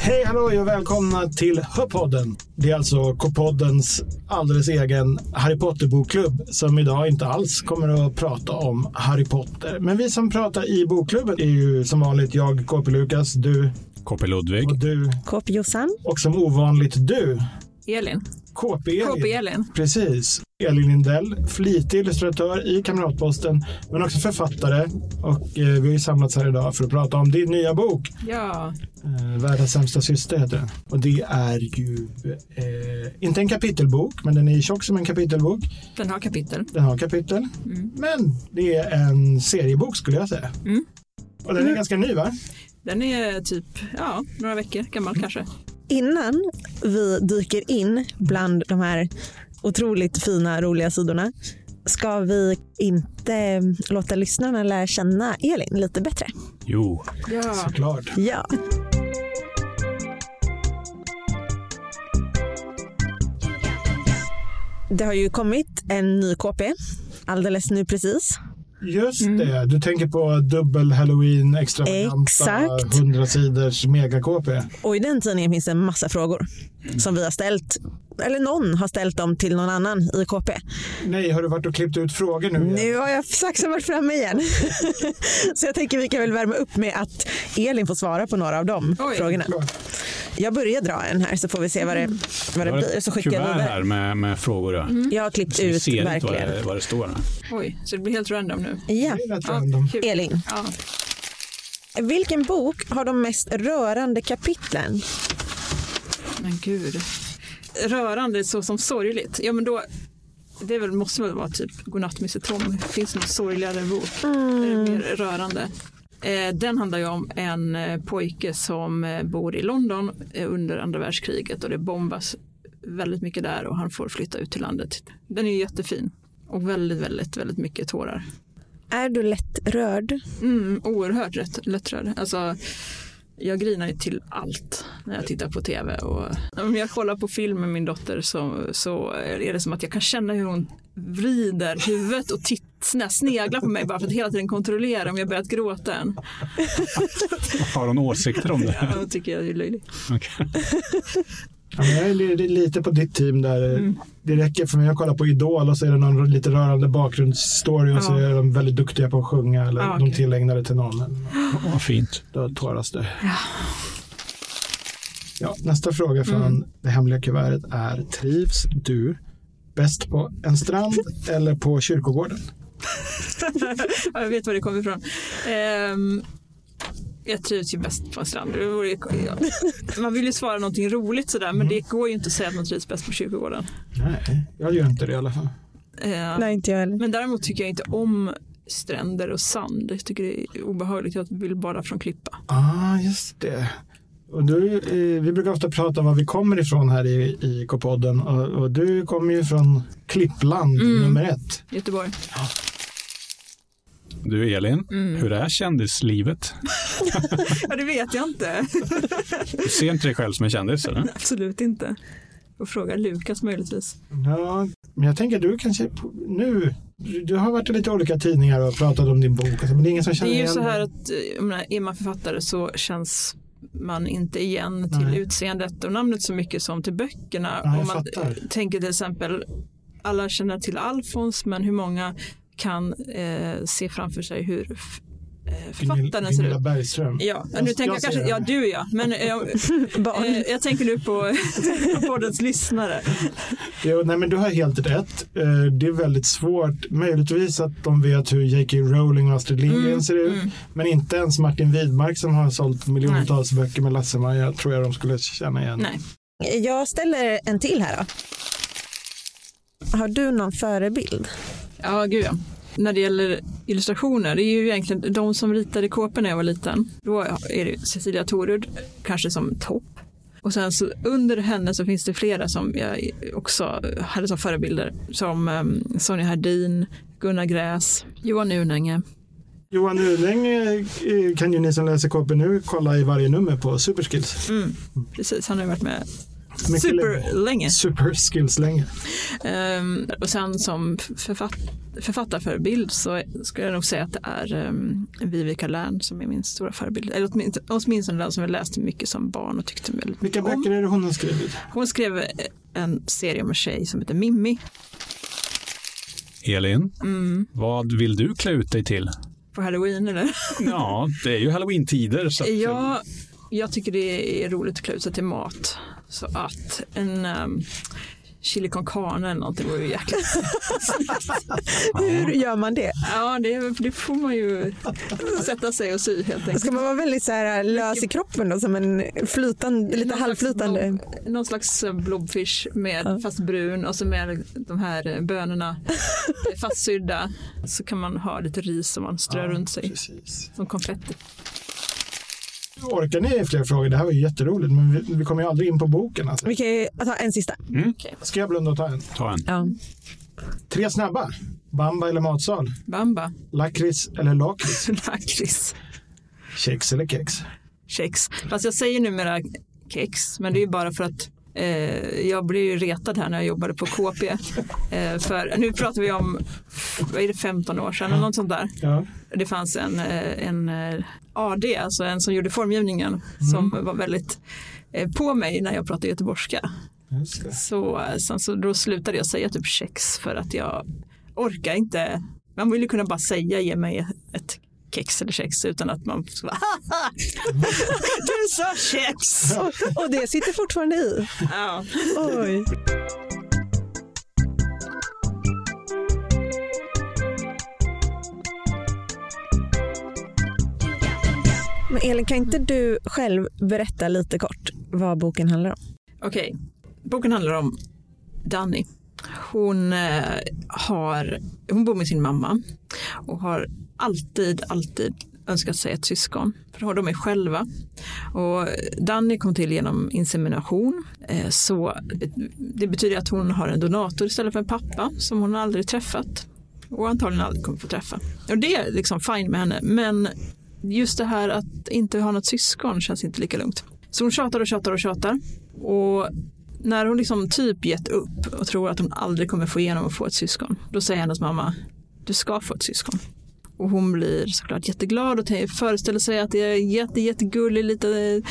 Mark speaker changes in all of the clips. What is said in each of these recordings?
Speaker 1: Hej, hallå och välkomna till Höpodden. Det är alltså K-poddens alldeles egen Harry Potter-bokklubb som idag inte alls kommer att prata om Harry Potter. Men vi som pratar i bokklubben är ju som vanligt jag, KP Lukas, du
Speaker 2: KP Ludvig.
Speaker 1: och du
Speaker 3: Kåp Jossan.
Speaker 1: och som ovanligt du,
Speaker 4: Elin.
Speaker 1: KP Elin.
Speaker 4: KP Elin.
Speaker 1: Precis. Elin Lindell, flitig illustratör i Kamratposten, men också författare. Och eh, vi har ju samlats här idag för att prata om din nya bok
Speaker 4: Ja.
Speaker 1: Eh, Världens sämsta syster heter den. Och det är ju eh, inte en kapitelbok, men den är tjock som en kapitelbok.
Speaker 4: Den har kapitel.
Speaker 1: Den har kapitel.
Speaker 4: Mm.
Speaker 1: Men det är en seriebok skulle jag säga.
Speaker 4: Mm.
Speaker 1: Och den är ganska ny va?
Speaker 4: Den är typ ja, några veckor gammal kanske.
Speaker 3: Innan vi dyker in bland de här otroligt fina, roliga sidorna ska vi inte låta lyssnarna lära känna Elin lite bättre.
Speaker 2: Jo.
Speaker 4: Ja.
Speaker 1: Såklart.
Speaker 3: Ja. Det har ju kommit en ny KP alldeles nu precis.
Speaker 1: Just det, du tänker på dubbel halloween extravaganta
Speaker 3: Exakt.
Speaker 1: 100 sidors mega-KP.
Speaker 3: Och i den tidningen finns det en massa frågor som vi har ställt, eller någon har ställt dem till någon annan i KP.
Speaker 1: Nej, har du varit och klippt ut frågor nu? igen?
Speaker 3: Nu har jag saxen varit framme igen. Så jag tänker vi kan väl värma upp med att Elin får svara på några av de
Speaker 4: Oj.
Speaker 3: frågorna.
Speaker 1: Klart.
Speaker 3: Jag börjar dra en här så får vi se vad det, vad det
Speaker 2: Jag har
Speaker 3: blir. Så
Speaker 2: ett
Speaker 3: skickar jag
Speaker 2: kuvert
Speaker 3: vidare.
Speaker 2: här med, med frågor. ja.
Speaker 4: Mm.
Speaker 3: Jag har klippt
Speaker 2: Så vi
Speaker 3: ut
Speaker 2: ser inte vad det,
Speaker 3: verkligen.
Speaker 2: vad det står.
Speaker 4: Oj, så det blir helt random nu.
Speaker 3: Ja.
Speaker 1: Det är rätt
Speaker 4: Ja,
Speaker 1: random.
Speaker 4: kul.
Speaker 3: Elin,
Speaker 4: Ja.
Speaker 3: vilken bok har de mest rörande kapitlen?
Speaker 4: Men gud. Rörande så som sorgligt. Ja men då. Det är väl, måste väl vara typ Godnatt Mr Tom. Finns det någon sorgligare bok? Eller mer rörande? Eh, Den handlar ju om en eh, pojke som eh, bor i London eh, under andra världskriget och det bombas väldigt mycket där och han får flytta ut till landet. Den är ju jättefin och väldigt, väldigt, väldigt mycket tårar.
Speaker 3: Är du lätt rörd?
Speaker 4: Mm, oerhört rätt, lättrörd. Alltså, jag grinar ju till allt när jag tittar på tv. Och, om jag kollar på film med min dotter så, så är det som att jag kan känna hur hon vrider huvudet och titt, snä- sneglar på mig bara för att hela tiden kontrollera om jag börjat gråta än.
Speaker 2: Har hon åsikter om det?
Speaker 4: Det tycker jag är löjligt.
Speaker 2: Okej.
Speaker 1: Ja, men jag är li- lite på ditt team där.
Speaker 4: Mm.
Speaker 1: Det räcker för mig. Jag kollar på Idol och så är det någon lite rörande bakgrundsstory och så
Speaker 4: Ja.
Speaker 1: är de väldigt duktiga på att sjunga eller
Speaker 4: Ja,
Speaker 1: de
Speaker 4: okej.
Speaker 1: tillägnar det till någon.
Speaker 2: Åh, Vad fint.
Speaker 1: Då tåras det. Ja. nästa fråga från
Speaker 4: Mm.
Speaker 1: det hemliga kuvertet är trivs du bäst på en strand eller på kyrkogården?
Speaker 4: Ja, jag vet var det kommer ifrån. Ehm, jag trivs ju bäst på en strand. Det vore ju- ja. Man vill ju svara någonting roligt sådär men det går ju inte att säga att man trivs bäst på kyrkogården.
Speaker 1: Nej, jag gör inte det i alla fall.
Speaker 4: Ehm,
Speaker 3: Nej, inte jag heller.
Speaker 4: Men däremot tycker jag inte om stränder och sand. Jag tycker det är obehagligt. Jag vill bara från klippa.
Speaker 1: ah, just det. Och du, eh, vi brukar ofta prata om var vi kommer ifrån här i, i K-podden och, och du kommer ju från Klippland
Speaker 4: Mm.
Speaker 1: nummer ett.
Speaker 4: Göteborg.
Speaker 2: Du Elin,
Speaker 4: Mm.
Speaker 2: hur är kändislivet?
Speaker 4: Ja, det vet jag inte.
Speaker 2: Du ser inte dig själv som en kändis? Eller?
Speaker 4: Absolut inte. Och fråga Lukas möjligtvis.
Speaker 1: Ja, men jag tänker att du kanske nu, du du har varit i lite olika tidningar och pratat om din bok, alltså, men det är ingen som
Speaker 4: Det
Speaker 1: känner
Speaker 4: är ju
Speaker 1: igen
Speaker 4: så
Speaker 1: dig.
Speaker 4: här att eh, jag menar, är man författare så känns man inte igen till
Speaker 1: Nej.
Speaker 4: utseendet och namnet så mycket som till böckerna.
Speaker 1: Ja, jag
Speaker 4: Om man
Speaker 1: fattar.
Speaker 4: eh, tänker till exempel, alla känner till Alfons men hur många kan eh, se framför sig hur f- eh, författaren ser ut?
Speaker 1: Gunilla Bergström.
Speaker 4: Ja,
Speaker 1: Jag-
Speaker 4: nu tänker
Speaker 1: jag
Speaker 4: jag
Speaker 1: ser
Speaker 4: kanske,
Speaker 1: det.
Speaker 4: ja du ja, men eh, jag,
Speaker 3: Barn.
Speaker 4: eh, jag tänker nu på på poddens lyssnare.
Speaker 1: Jo, nej, men du har helt rätt. Eh, Det är väldigt svårt. Möjligtvis att de vet hur J.K. Rowling och Astrid Lindgren
Speaker 4: Mm,
Speaker 1: ser ut. Men inte ens Martin Widmark som har sålt miljontals böcker med Lasse-Maja tror jag de skulle känna igen.
Speaker 4: Nej,
Speaker 3: Jag ställer en till här då. Har du någon förebild?
Speaker 4: ja gud ja. När det gäller illustrationer, det är ju egentligen de som ritade kåpor när jag var liten. Då är det ju Cecilia Torud, kanske som topp. Och sen så under henne så finns det flera som jag också hade som förebilder. Som eh, Sonja Hardin, Gunnar Gräs, Johan Unänge.
Speaker 1: Johan Uling eh,
Speaker 4: Mm.
Speaker 1: kan ju ni som läser KP nu kolla i varje nummer på Superskills.
Speaker 4: Precis, han har ju varit med
Speaker 1: Mycket
Speaker 4: Superlänge.
Speaker 1: Super skills länge.
Speaker 4: Ehm, och sen som författ, författarförebild så skulle jag nog säga att det är um, Vivica Lärn som är min stora förebild. Eller åtminstone, åtminstone den som jag läste mycket som barn och tyckte väldigt
Speaker 1: Vilka
Speaker 4: mycket om.
Speaker 1: böcker är det hon har skrivit?
Speaker 4: Hon skrev eh, en serie om en tjej som heter Mimmi
Speaker 2: Elin,
Speaker 4: Mm.
Speaker 2: vad vill du klä ut dig till?
Speaker 4: på halloween. Eller?
Speaker 2: Ja, det är ju halloween-tider. Så att,
Speaker 4: Jag, jag tycker det är roligt att klä ut sig till mat. Så att en um, chili con carne eller någonting vore ju jäkla...
Speaker 3: Hur gör man det?
Speaker 4: Ja, det, det får man ju sätta sig och sy helt enkelt.
Speaker 3: Ska man vara väldigt så här äh, lös i kroppen då, som en flytande, lite
Speaker 4: Någon slags
Speaker 3: halvflytande?
Speaker 4: blob- Någon slags eh, blobfish med fast brun och så med de här eh, bönorna fastsydda. Så kan man ha lite ris som man strör runt sig
Speaker 1: Precis.
Speaker 4: som konfetti.
Speaker 1: Orkar ni fler frågor? Det här var ju jätteroligt, men vi, vi kommer ju aldrig in på boken. Alltså.
Speaker 3: Vi kan ju ta en sista.
Speaker 1: Ska jag blunda och ta en?
Speaker 2: Ta en.
Speaker 3: Ja.
Speaker 1: Tre snabba. Bamba eller matsal?
Speaker 4: Bamba,
Speaker 1: Lakrits eller lakrits?
Speaker 4: lakrits,
Speaker 1: Kex eller kex?
Speaker 4: kex. Fast jag säger numera kex, men det är ju bara för att eh, jag blev ju retad här när jag jobbade på KP. Eh, för nu pratar vi om, vad är det, 15 år sedan eller något sånt där.
Speaker 1: Ja.
Speaker 4: Det fanns en, eh, en eh, AD, alltså en som gjorde formgivningen, som var väldigt eh, på mig när jag pratade göteborgska.
Speaker 1: Just det.
Speaker 4: Så, eh, sen så då slutade jag säga typ kex för att jag orkar inte. Man vill ju kunna bara säga ge mig ett kex eller kex utan att man ska bara, "Haha, du sa kex.
Speaker 3: Och, och det sitter fortfarande i.
Speaker 4: Ja.
Speaker 3: Oj. Men Elin, kan inte du själv berätta lite kort vad boken handlar om?
Speaker 4: Okej, boken handlar om Danny. Hon, eh, har, hon bor med sin mamma och har alltid, alltid önskat sig ett syskon. För då har de är själva. Och Danny kom till genom insemination. Eh, så det betyder att hon har en donator istället för en pappa som hon aldrig träffat. Och antagligen aldrig kommer få träffa. Och det är liksom fine med henne. Men just det här att inte ha något syskon känns inte lika lugnt. Så hon tjatar och tjatar och tjatar. Och när hon liksom typ gett upp och tror att hon aldrig kommer få igenom att få ett syskon, då säger hennes mamma, du ska få ett syskon. Och hon blir såklart jätteglad och tänker- föreställer sig att det är en jätte, jättegullig liten,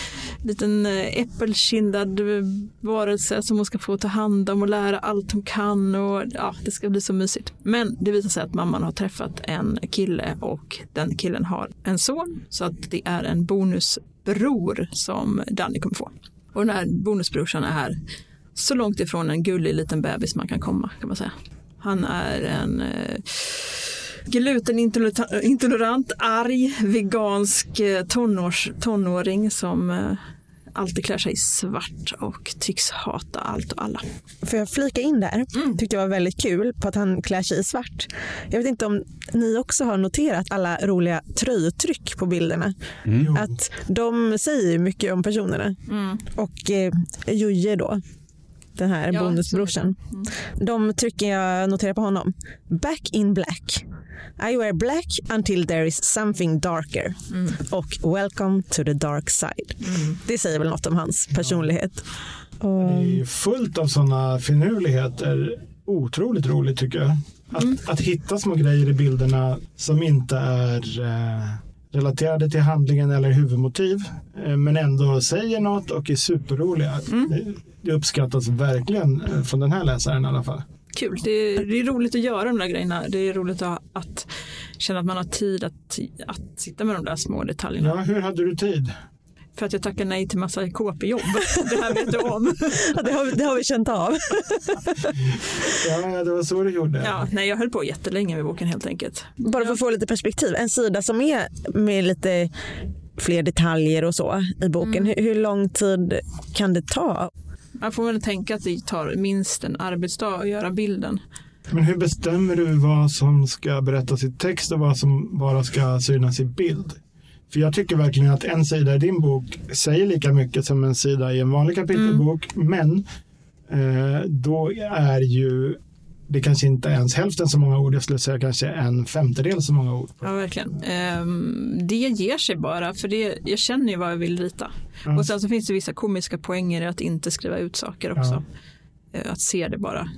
Speaker 4: liten eh, äppelkindad eh, varelse som hon ska få ta hand om och lära allt hon kan. Och, ja, det ska bli så mysigt. Men det visar sig att mamman har träffat en kille och den killen har en son. Så att det är en bonusbror som Danny kommer få. Och den här bonusbrorsan är här så långt ifrån en gullig liten bebis man kan komma kan man säga. Han är en eh, glutenintolerant, arg, vegansk eh, tonårs, tonåring som eh, alltid klär sig i svart och tycks hata allt och alla.
Speaker 3: Får jag flika in där? Tyckte jag var väldigt kul på att han klär sig i svart. Jag vet inte om ni också har noterat alla roliga tröjuttryck på bilderna.
Speaker 1: Jo.
Speaker 3: Att de säger mycket om personerna. Och eh, Jojje då, den här
Speaker 4: Ja,
Speaker 3: bonusbrorsan. De trycken jag noterar på honom. Back in black. I wear black until there is something darker. Och welcome to the dark side. Det säger väl något om hans personlighet. Och...
Speaker 1: Det är fullt av sådana finurligheter. Otroligt roligt tycker jag. Att, att hitta små grejer i bilderna som inte är eh, relaterade till handlingen eller huvudmotiv. Eh, men ändå säger något och är superroliga. Det, det uppskattas verkligen eh, från den här läsaren i alla fall.
Speaker 4: Kul, det är, det är roligt att göra de där grejerna. Det är roligt att, att känna att man har tid att, att sitta med de där små detaljerna.
Speaker 1: Ja, hur hade du tid?
Speaker 4: För att jag tackar nej till massa KP-jobb. Det här vet du om.
Speaker 3: Ja, det, har, vi- det har vi känt av.
Speaker 1: Ja, det var så du gjorde.
Speaker 4: Ja, nej, jag höll på jättelänge med boken helt enkelt.
Speaker 3: Bara för att få lite perspektiv. En sida som är med lite fler detaljer och så i boken. Hur, hur lång tid kan det ta?
Speaker 4: Man får väl tänka att det tar minst en arbetsdag att göra bilden.
Speaker 1: Men hur bestämmer du vad som ska berättas i text och vad som bara ska synas i bild? För jag tycker verkligen att en sida i din bok säger lika mycket som en
Speaker 4: Mm.
Speaker 1: sida i en vanlig kapitelbok. Men eh, då är ju det kanske inte är ens hälften så många ord, jag skulle säga kanske en femtedel så många ord.
Speaker 4: Ja, verkligen. Ehm, det ger sig bara, för det, jag känner ju vad jag vill rita.
Speaker 1: Ja.
Speaker 4: Och sen så finns det vissa komiska poänger i att inte skriva ut saker också. Eh, Att se det bara.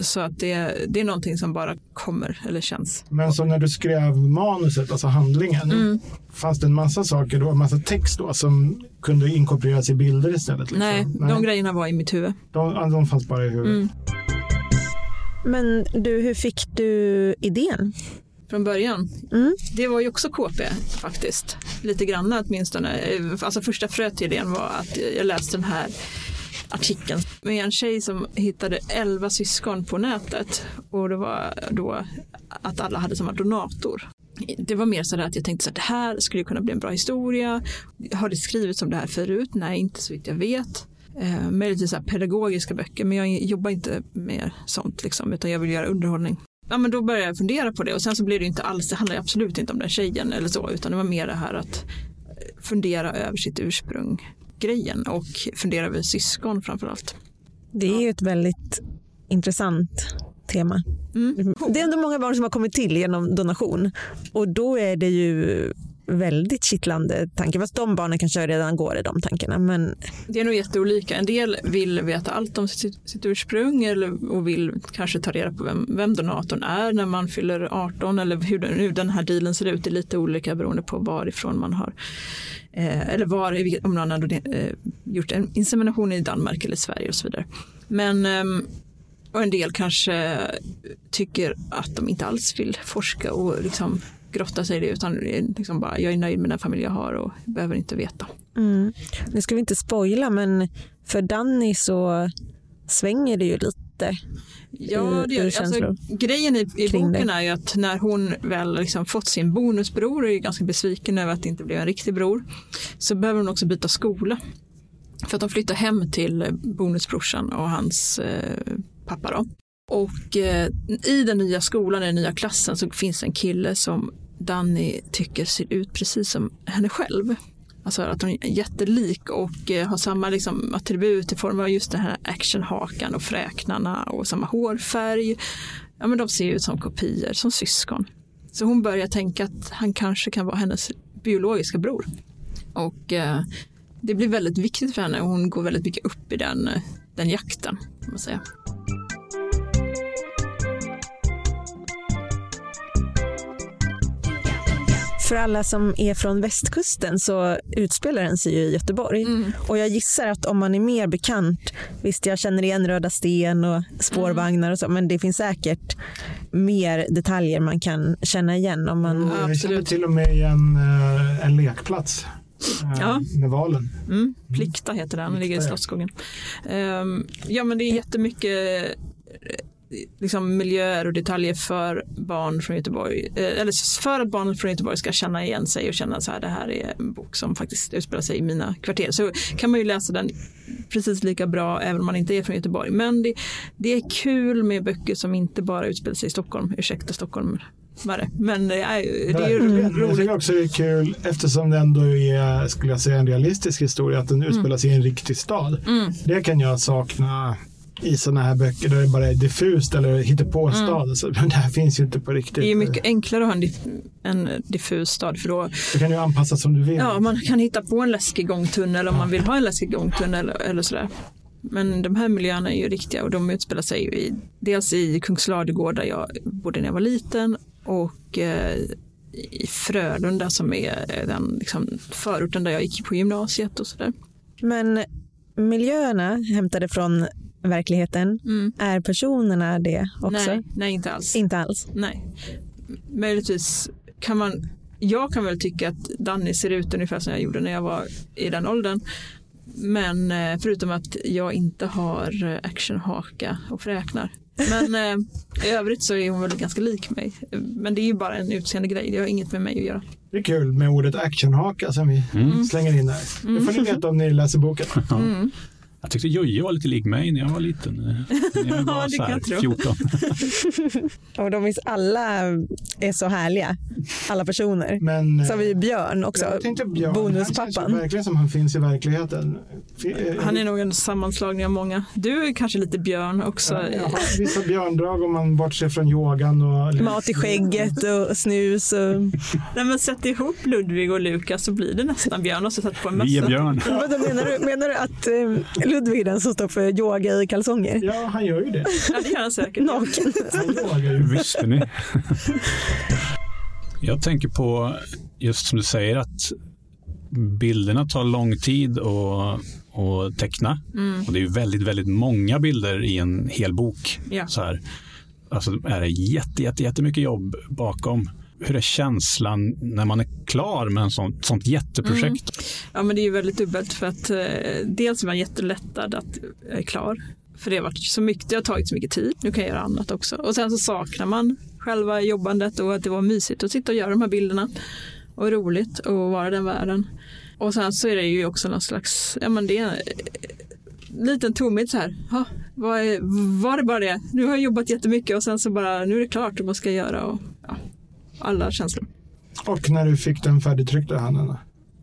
Speaker 4: Så att det, det är någonting som bara kommer eller känns.
Speaker 1: Men så när du skrev manuset, alltså handlingen,
Speaker 4: Mm.
Speaker 1: fanns det en massa saker då, en massa text då som kunde inkorporeras i bilder istället? Liksom?
Speaker 4: Nej, de grejerna var i mitt huvud.
Speaker 1: de, ja, de fanns bara i huvudet.
Speaker 4: Mm.
Speaker 3: Men du, hur fick du idén?
Speaker 4: Från början.
Speaker 3: Mm.
Speaker 4: Det var ju också KP faktiskt. Lite grann åtminstone. Eh, Alltså första fröet till idén var att jag läste den här artikeln med en tjej som hittade elva syskon på nätet och det var då att alla hade samma donator. Det var mer så där att jag tänkte så att det här skulle kunna bli en bra historia. Har det skrivits om det här förut? Nej, inte så vitt jag vet. Eh, möjligtvis så här pedagogiska böcker, men jag jobbar inte med sånt liksom, utan jag vill göra underhållning. Ja, men då började jag fundera på det och sen så blev det ju inte alls, det handlar ju absolut inte om den tjejen eller så, utan det var mer det här att eh, fundera över sitt ursprung grejen och fundera över syskon framför allt.
Speaker 3: Det är ju ett väldigt intressant tema.
Speaker 4: Mm.
Speaker 3: Det är ändå många barn som har kommit till genom donation och då är det ju väldigt kittlande tanke. Fast de barnen kanske redan går i de tankarna. Men
Speaker 4: Det är nog jätteolika. En del vill veta allt om sitt, sitt ursprung eller, och vill kanske ta reda på vem, vem donatorn är när man fyller 18 eller hur den, hur den här dealen ser ut. Det är lite olika beroende på varifrån man har eh, eller var, om någon har doner- eh, gjort en insemination i Danmark eller Sverige och så vidare. Men ehm, och en del kanske tycker att de inte alls vill forska och liksom grotta sig i det utan liksom bara, jag är nöjd med den familj jag har och behöver inte veta.
Speaker 3: mm. nu ska vi inte spoila men för Danny så svänger det ju lite.
Speaker 4: Ja,
Speaker 3: i-
Speaker 4: det gör,
Speaker 3: ur
Speaker 4: det. alltså,
Speaker 3: känslor
Speaker 4: grejen i, i
Speaker 3: kring
Speaker 4: boken
Speaker 3: det.
Speaker 4: är ju att när hon väl liksom fått sin bonusbror och är ganska besviken över att det inte blev en riktig bror så behöver hon också byta skola. För att de flyttar hem till bonusbrorsan och hans eh, pappa då. Och eh, i den nya skolan, i den nya klassen så finns en kille som Danny tycker ser ut precis som henne själv. Alltså att hon är jättelik och eh, har samma liksom, attribut i form av just den här actionhakan och fräknarna och samma hårfärg. Ja, men de ser ut som kopior, som syskon. Så hon börjar tänka att han kanske kan vara hennes biologiska bror. Och eh, det blir väldigt viktigt för henne och hon går väldigt mycket upp i den, eh, den jakten. Kan man säga.
Speaker 3: För alla som är från västkusten så utspelar den sig ju i Göteborg.
Speaker 1: Mm.
Speaker 3: Och jag gissar att om man är mer bekant, visst jag känner igen Röda Sten och spårvagnar och så, men det finns säkert mer detaljer man kan känna igen om man...
Speaker 1: Och Jag känner
Speaker 4: Absolut.
Speaker 1: till och med igen eh, en lekplats eh,
Speaker 4: Ja.
Speaker 1: med valen.
Speaker 4: Mm. Plikta heter den, ligger i
Speaker 1: Plikta, ja.
Speaker 4: Slottsskogen. Ehm, ja, men det är jättemycket eh, liksom, miljöer och detaljer för barn från Göteborg. eh, Eller för att barn från Göteborg ska känna igen sig och känna så här, det här är en bok som faktiskt utspelar sig i mina kvarter. Så kan man ju läsa den precis lika bra även om man inte är från Göteborg. Men det, det är kul med böcker som inte bara utspelar sig i Stockholm. Ursäkta stockholmare. Men eh, det är, ju- det är ju
Speaker 1: Verkligen. Jag
Speaker 4: roligt.
Speaker 1: tycker också Mm. det är kul eftersom det ändå är, skulle jag säga, en realistisk historia. Att den utspelar sig i en riktig stad.
Speaker 4: Mm.
Speaker 1: Det kan jag sakna i sådana här böcker där det bara är diffust eller hittepåstad. Mm. Så, men det här finns ju inte på riktigt.
Speaker 4: Det är ju mycket enklare att ha en, diff- en diffus stad för då
Speaker 1: Du kan ju anpassa som du vill.
Speaker 4: Ja, man kan hitta på en läskig gångtunnel om man vill ha en läskig gångtunnel eller sådär. Men de här miljöerna är ju riktiga och de utspelar sig ju i, dels i Kungsladugård där jag bodde när jag var liten och eh, i Frölunda som är den liksom, förorten där jag gick på gymnasiet och sådär.
Speaker 3: Men miljöerna hämtade från verkligheten,
Speaker 4: Mm.
Speaker 3: är personerna det också?
Speaker 4: Nej, nej, inte alls.
Speaker 3: Inte alls.
Speaker 4: Nej. Möjligtvis kan man... Jag kan väl tycka att Danny ser ut ungefär som jag gjorde när jag var i den åldern. Men eh, förutom att jag inte har eh, actionhaka och fräknar. Men eh, i övrigt så är hon väl ganska lik mig. Men det är ju bara en utseende grej. Det har inget med mig att göra.
Speaker 1: Det är kul
Speaker 4: Mm.
Speaker 1: med ordet actionhaka som vi slänger in där. Det får ni veta om ni läser boken.
Speaker 2: Jag tyckte Jojo var lite lik mig när jag var liten. När jag var
Speaker 4: Ja, det
Speaker 2: så
Speaker 4: kan
Speaker 2: här
Speaker 4: jag tro.
Speaker 2: 14.
Speaker 3: Och de är alla är så härliga, alla personer.
Speaker 1: Men, eh,
Speaker 3: Så har vi Björn också,
Speaker 1: jag tänkte Björn, Han känns ju
Speaker 3: bonuspappan.
Speaker 1: verkligen som han finns i verkligheten. eh,
Speaker 4: Han är nog en sammanslagning av många. Du är kanske lite Björn också.
Speaker 1: Ja, jag har vissa björndrag om man bortser från yogan och...
Speaker 3: Mat i skägget och snus. Och...
Speaker 4: Nej, men sätt ihop Ludvig och Lukas så blir det nästan Björn och så sätter på en
Speaker 2: Vi är
Speaker 4: mössa.
Speaker 2: björn.
Speaker 3: Vadå, menar, du, menar du att eh, Ludvig är den som står för yoga i kalsonger?
Speaker 1: Ja, han gör ju det.
Speaker 4: Ja, det gör han säkert.
Speaker 3: Naken.
Speaker 1: Han yogar ju.
Speaker 2: Visste ni? Jag tänker på, just som du säger, att bilderna tar lång tid att, att teckna.
Speaker 4: Mm.
Speaker 2: Och det är ju väldigt, väldigt många bilder i en hel bok.
Speaker 4: Ja.
Speaker 2: Så här. Alltså är det jätte, jätte, jättemycket jobb bakom. Hur är känslan när man är klar med ett sånt, sånt jätteprojekt?
Speaker 4: Ja, men det är ju väldigt dubbelt för att eh, dels är man jättelättad att jag är klar. För det har, varit så mycket, det har tagit så mycket tid, nu kan jag göra annat också. Och sen så saknar man själva jobbandet och att det var mysigt att sitta och göra de här bilderna. Och roligt och vara i den världen. Och sen så är det ju också någon slags, ja men det är en liten tomhet så här. Ha, vad är, var det bara det? Nu har jag jobbat jättemycket och sen så bara, nu är det klart och vad ska jag göra? Och, ja, alla känslor.
Speaker 1: Och när du fick den färdigtryckta handen.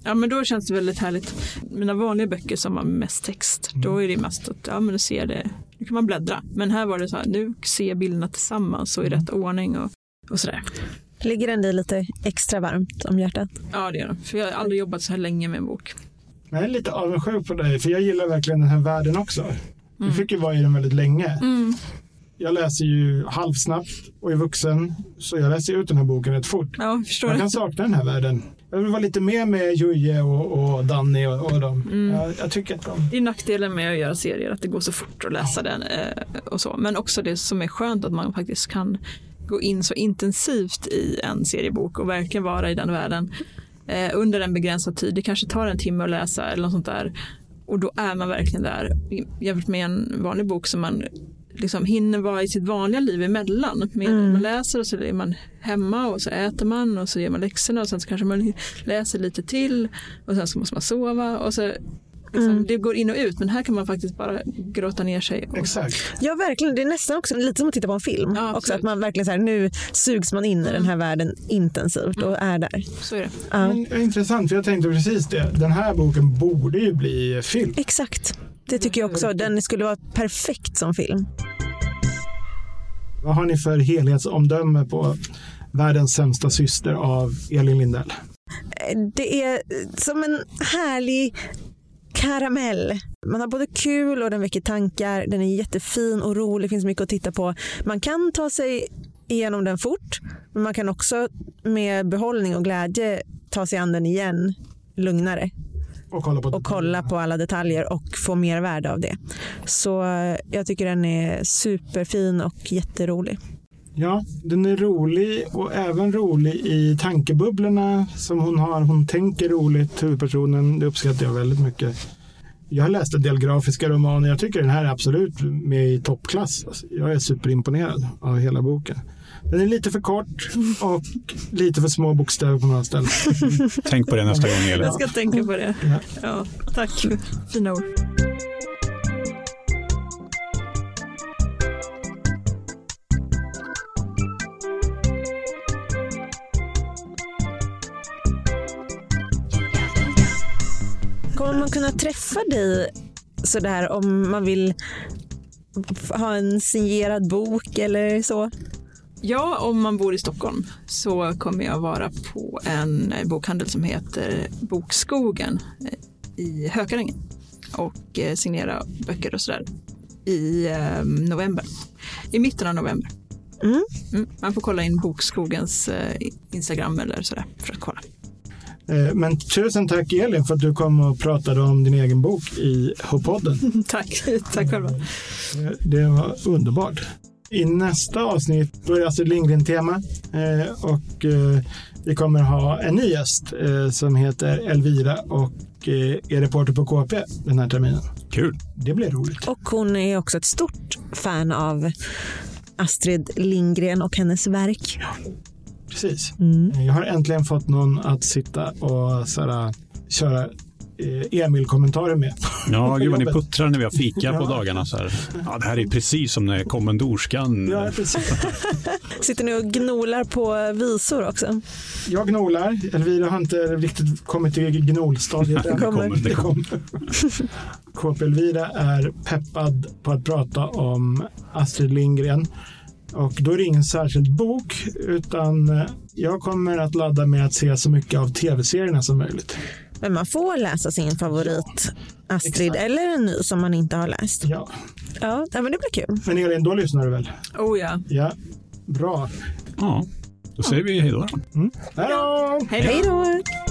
Speaker 4: Ja men då känns det väldigt härligt. Mina vanliga böcker som har mest text, då är det mest att ja, men du ser det, nu kan man bläddra. Men här var det så här, nu ser jag bilderna tillsammans och i rätt ordning och, och sådär.
Speaker 3: Ligger den dig lite extra varmt om hjärtat?
Speaker 4: Ja det gör det. För jag har aldrig jobbat så här länge med en bok.
Speaker 1: Men jag är lite avundsjuk på dig, för jag gillar verkligen den här världen också. Du fick ju vara i den väldigt länge. Jag läser ju halvsnabbt och är vuxen, så jag läser ut den här boken rätt fort.
Speaker 4: Ja, jag förstår.
Speaker 1: Man kan sakna den här världen. Jag vill vara lite mer med Juje och, och Danny och, och dem. Jag, jag tycker att de...
Speaker 4: Det är nackdelen med att göra serier, att det går så fort att läsa den eh, och så. Men också det som är skönt att man faktiskt kan gå in så intensivt i en seriebok och verkligen vara i den världen eh, under en begränsad tid. Det kanske tar en timme att läsa eller något sånt där. Och då är man verkligen där jämfört med en vanlig bok som man liksom hinner vara i sitt vanliga liv emellan. Med
Speaker 1: Mm.
Speaker 4: Man läser och så är man hemma och så äter man och så gör man läxorna och sen så kanske man läser lite till och sen så måste man sova och så liksom,
Speaker 1: Mm.
Speaker 4: det går in och ut men här kan man faktiskt bara gråta ner sig. Och,
Speaker 1: Exakt.
Speaker 3: Ja, verkligen. Det är nästan också lite som att titta på en film.
Speaker 4: Ja, absolut.
Speaker 3: också, att man verkligen så här, nu sugs man in i den här världen intensivt och är där.
Speaker 4: så är det.
Speaker 3: Ja.
Speaker 1: Men, det är intressant, för jag tänkte precis det. Den här boken borde ju bli film.
Speaker 3: Exakt. Det tycker jag också. Den skulle vara perfekt som film.
Speaker 1: Vad har ni för helhetsomdöme på Världens sämsta syster av Elin Lindell?
Speaker 3: Det är som en härlig karamell. Man har både kul och den väcker tankar. Den är jättefin och rolig. Det finns mycket att titta på. Man kan ta sig igenom den fort, men man kan också med behållning och glädje ta sig an den igen lugnare
Speaker 1: Och kolla på
Speaker 3: och kolla på alla detaljer och få mer värde av det. Så jag tycker den är superfin och jätterolig.
Speaker 1: Ja, den är rolig och även rolig i tankebubblorna som hon har. Hon tänker roligt, huvudpersonen. Det uppskattar jag väldigt mycket. Jag har läst en del grafiska romaner. Jag tycker den här är absolut med i toppklass. Alltså, Jag är superimponerad av hela boken. Den är lite för kort och lite för små bokstäver på några ställen.
Speaker 2: Tänk på det nästa gång, Elin.
Speaker 4: Jag Mm. ska tänka på det.
Speaker 1: Ja.
Speaker 4: Ja, tack, fina ord.
Speaker 3: Kommer man kunna träffa dig sådär om man vill f- ha en signerad bok eller så?
Speaker 4: Ja, om man bor i Stockholm så kommer jag vara på en bokhandel som heter Bokskogen eh, i Hökarängen och eh, signera böcker och sådär i eh, november. I mitten av november.
Speaker 3: Mm.
Speaker 4: Mm, man får kolla in Bokskogens eh, Instagram eller sådär för att kolla.
Speaker 1: Eh, Men tusen tack Elin för att du kom och pratade om din egen bok i H-podden.
Speaker 4: Tack, tack själva.
Speaker 1: Det var underbart. I nästa avsnitt då är det Astrid Lindgren-tema eh, och eh, vi kommer ha en ny gäst eh, som heter Elvira och eh, är reporter på KP den här terminen.
Speaker 2: Kul.
Speaker 1: Det blir roligt.
Speaker 3: Och hon är också ett stort fan av Astrid Lindgren och hennes verk.
Speaker 1: Precis.
Speaker 3: Mm.
Speaker 1: Eh, Jag har äntligen fått någon att sitta och såhär, köra eh, Emil-kommentarer med.
Speaker 2: Ja, gud vad ni
Speaker 1: jobbet.
Speaker 2: puttrar när vi har fika på
Speaker 1: Ja.
Speaker 2: dagarna. Så här. Ja, det här är precis som när kommendorskan...
Speaker 1: Ja, precis.
Speaker 3: Sitter ni och gnolar på visor också?
Speaker 1: Jag gnolar. Elvira har inte riktigt kommit till gnolstadiet än.
Speaker 3: Det kommer.
Speaker 2: Det kommer.
Speaker 1: KP Elvira är peppad på att prata om Astrid Lindgren. Och då är det ingen särskild bok, utan eh, jag kommer att ladda med att se så mycket av tv-serierna som möjligt.
Speaker 3: Men man får läsa sin favorit Astrid
Speaker 1: Exakt.
Speaker 3: eller en ny som man inte har läst.
Speaker 1: Ja.
Speaker 3: Ja, ja, men det blir kul.
Speaker 1: Men Elin, då lyssnar du väl?
Speaker 4: Oh ja.
Speaker 1: Ja. Bra.
Speaker 2: Ja, då säger vi hej då.
Speaker 1: Hej då!
Speaker 4: Hej då.
Speaker 3: Hej då!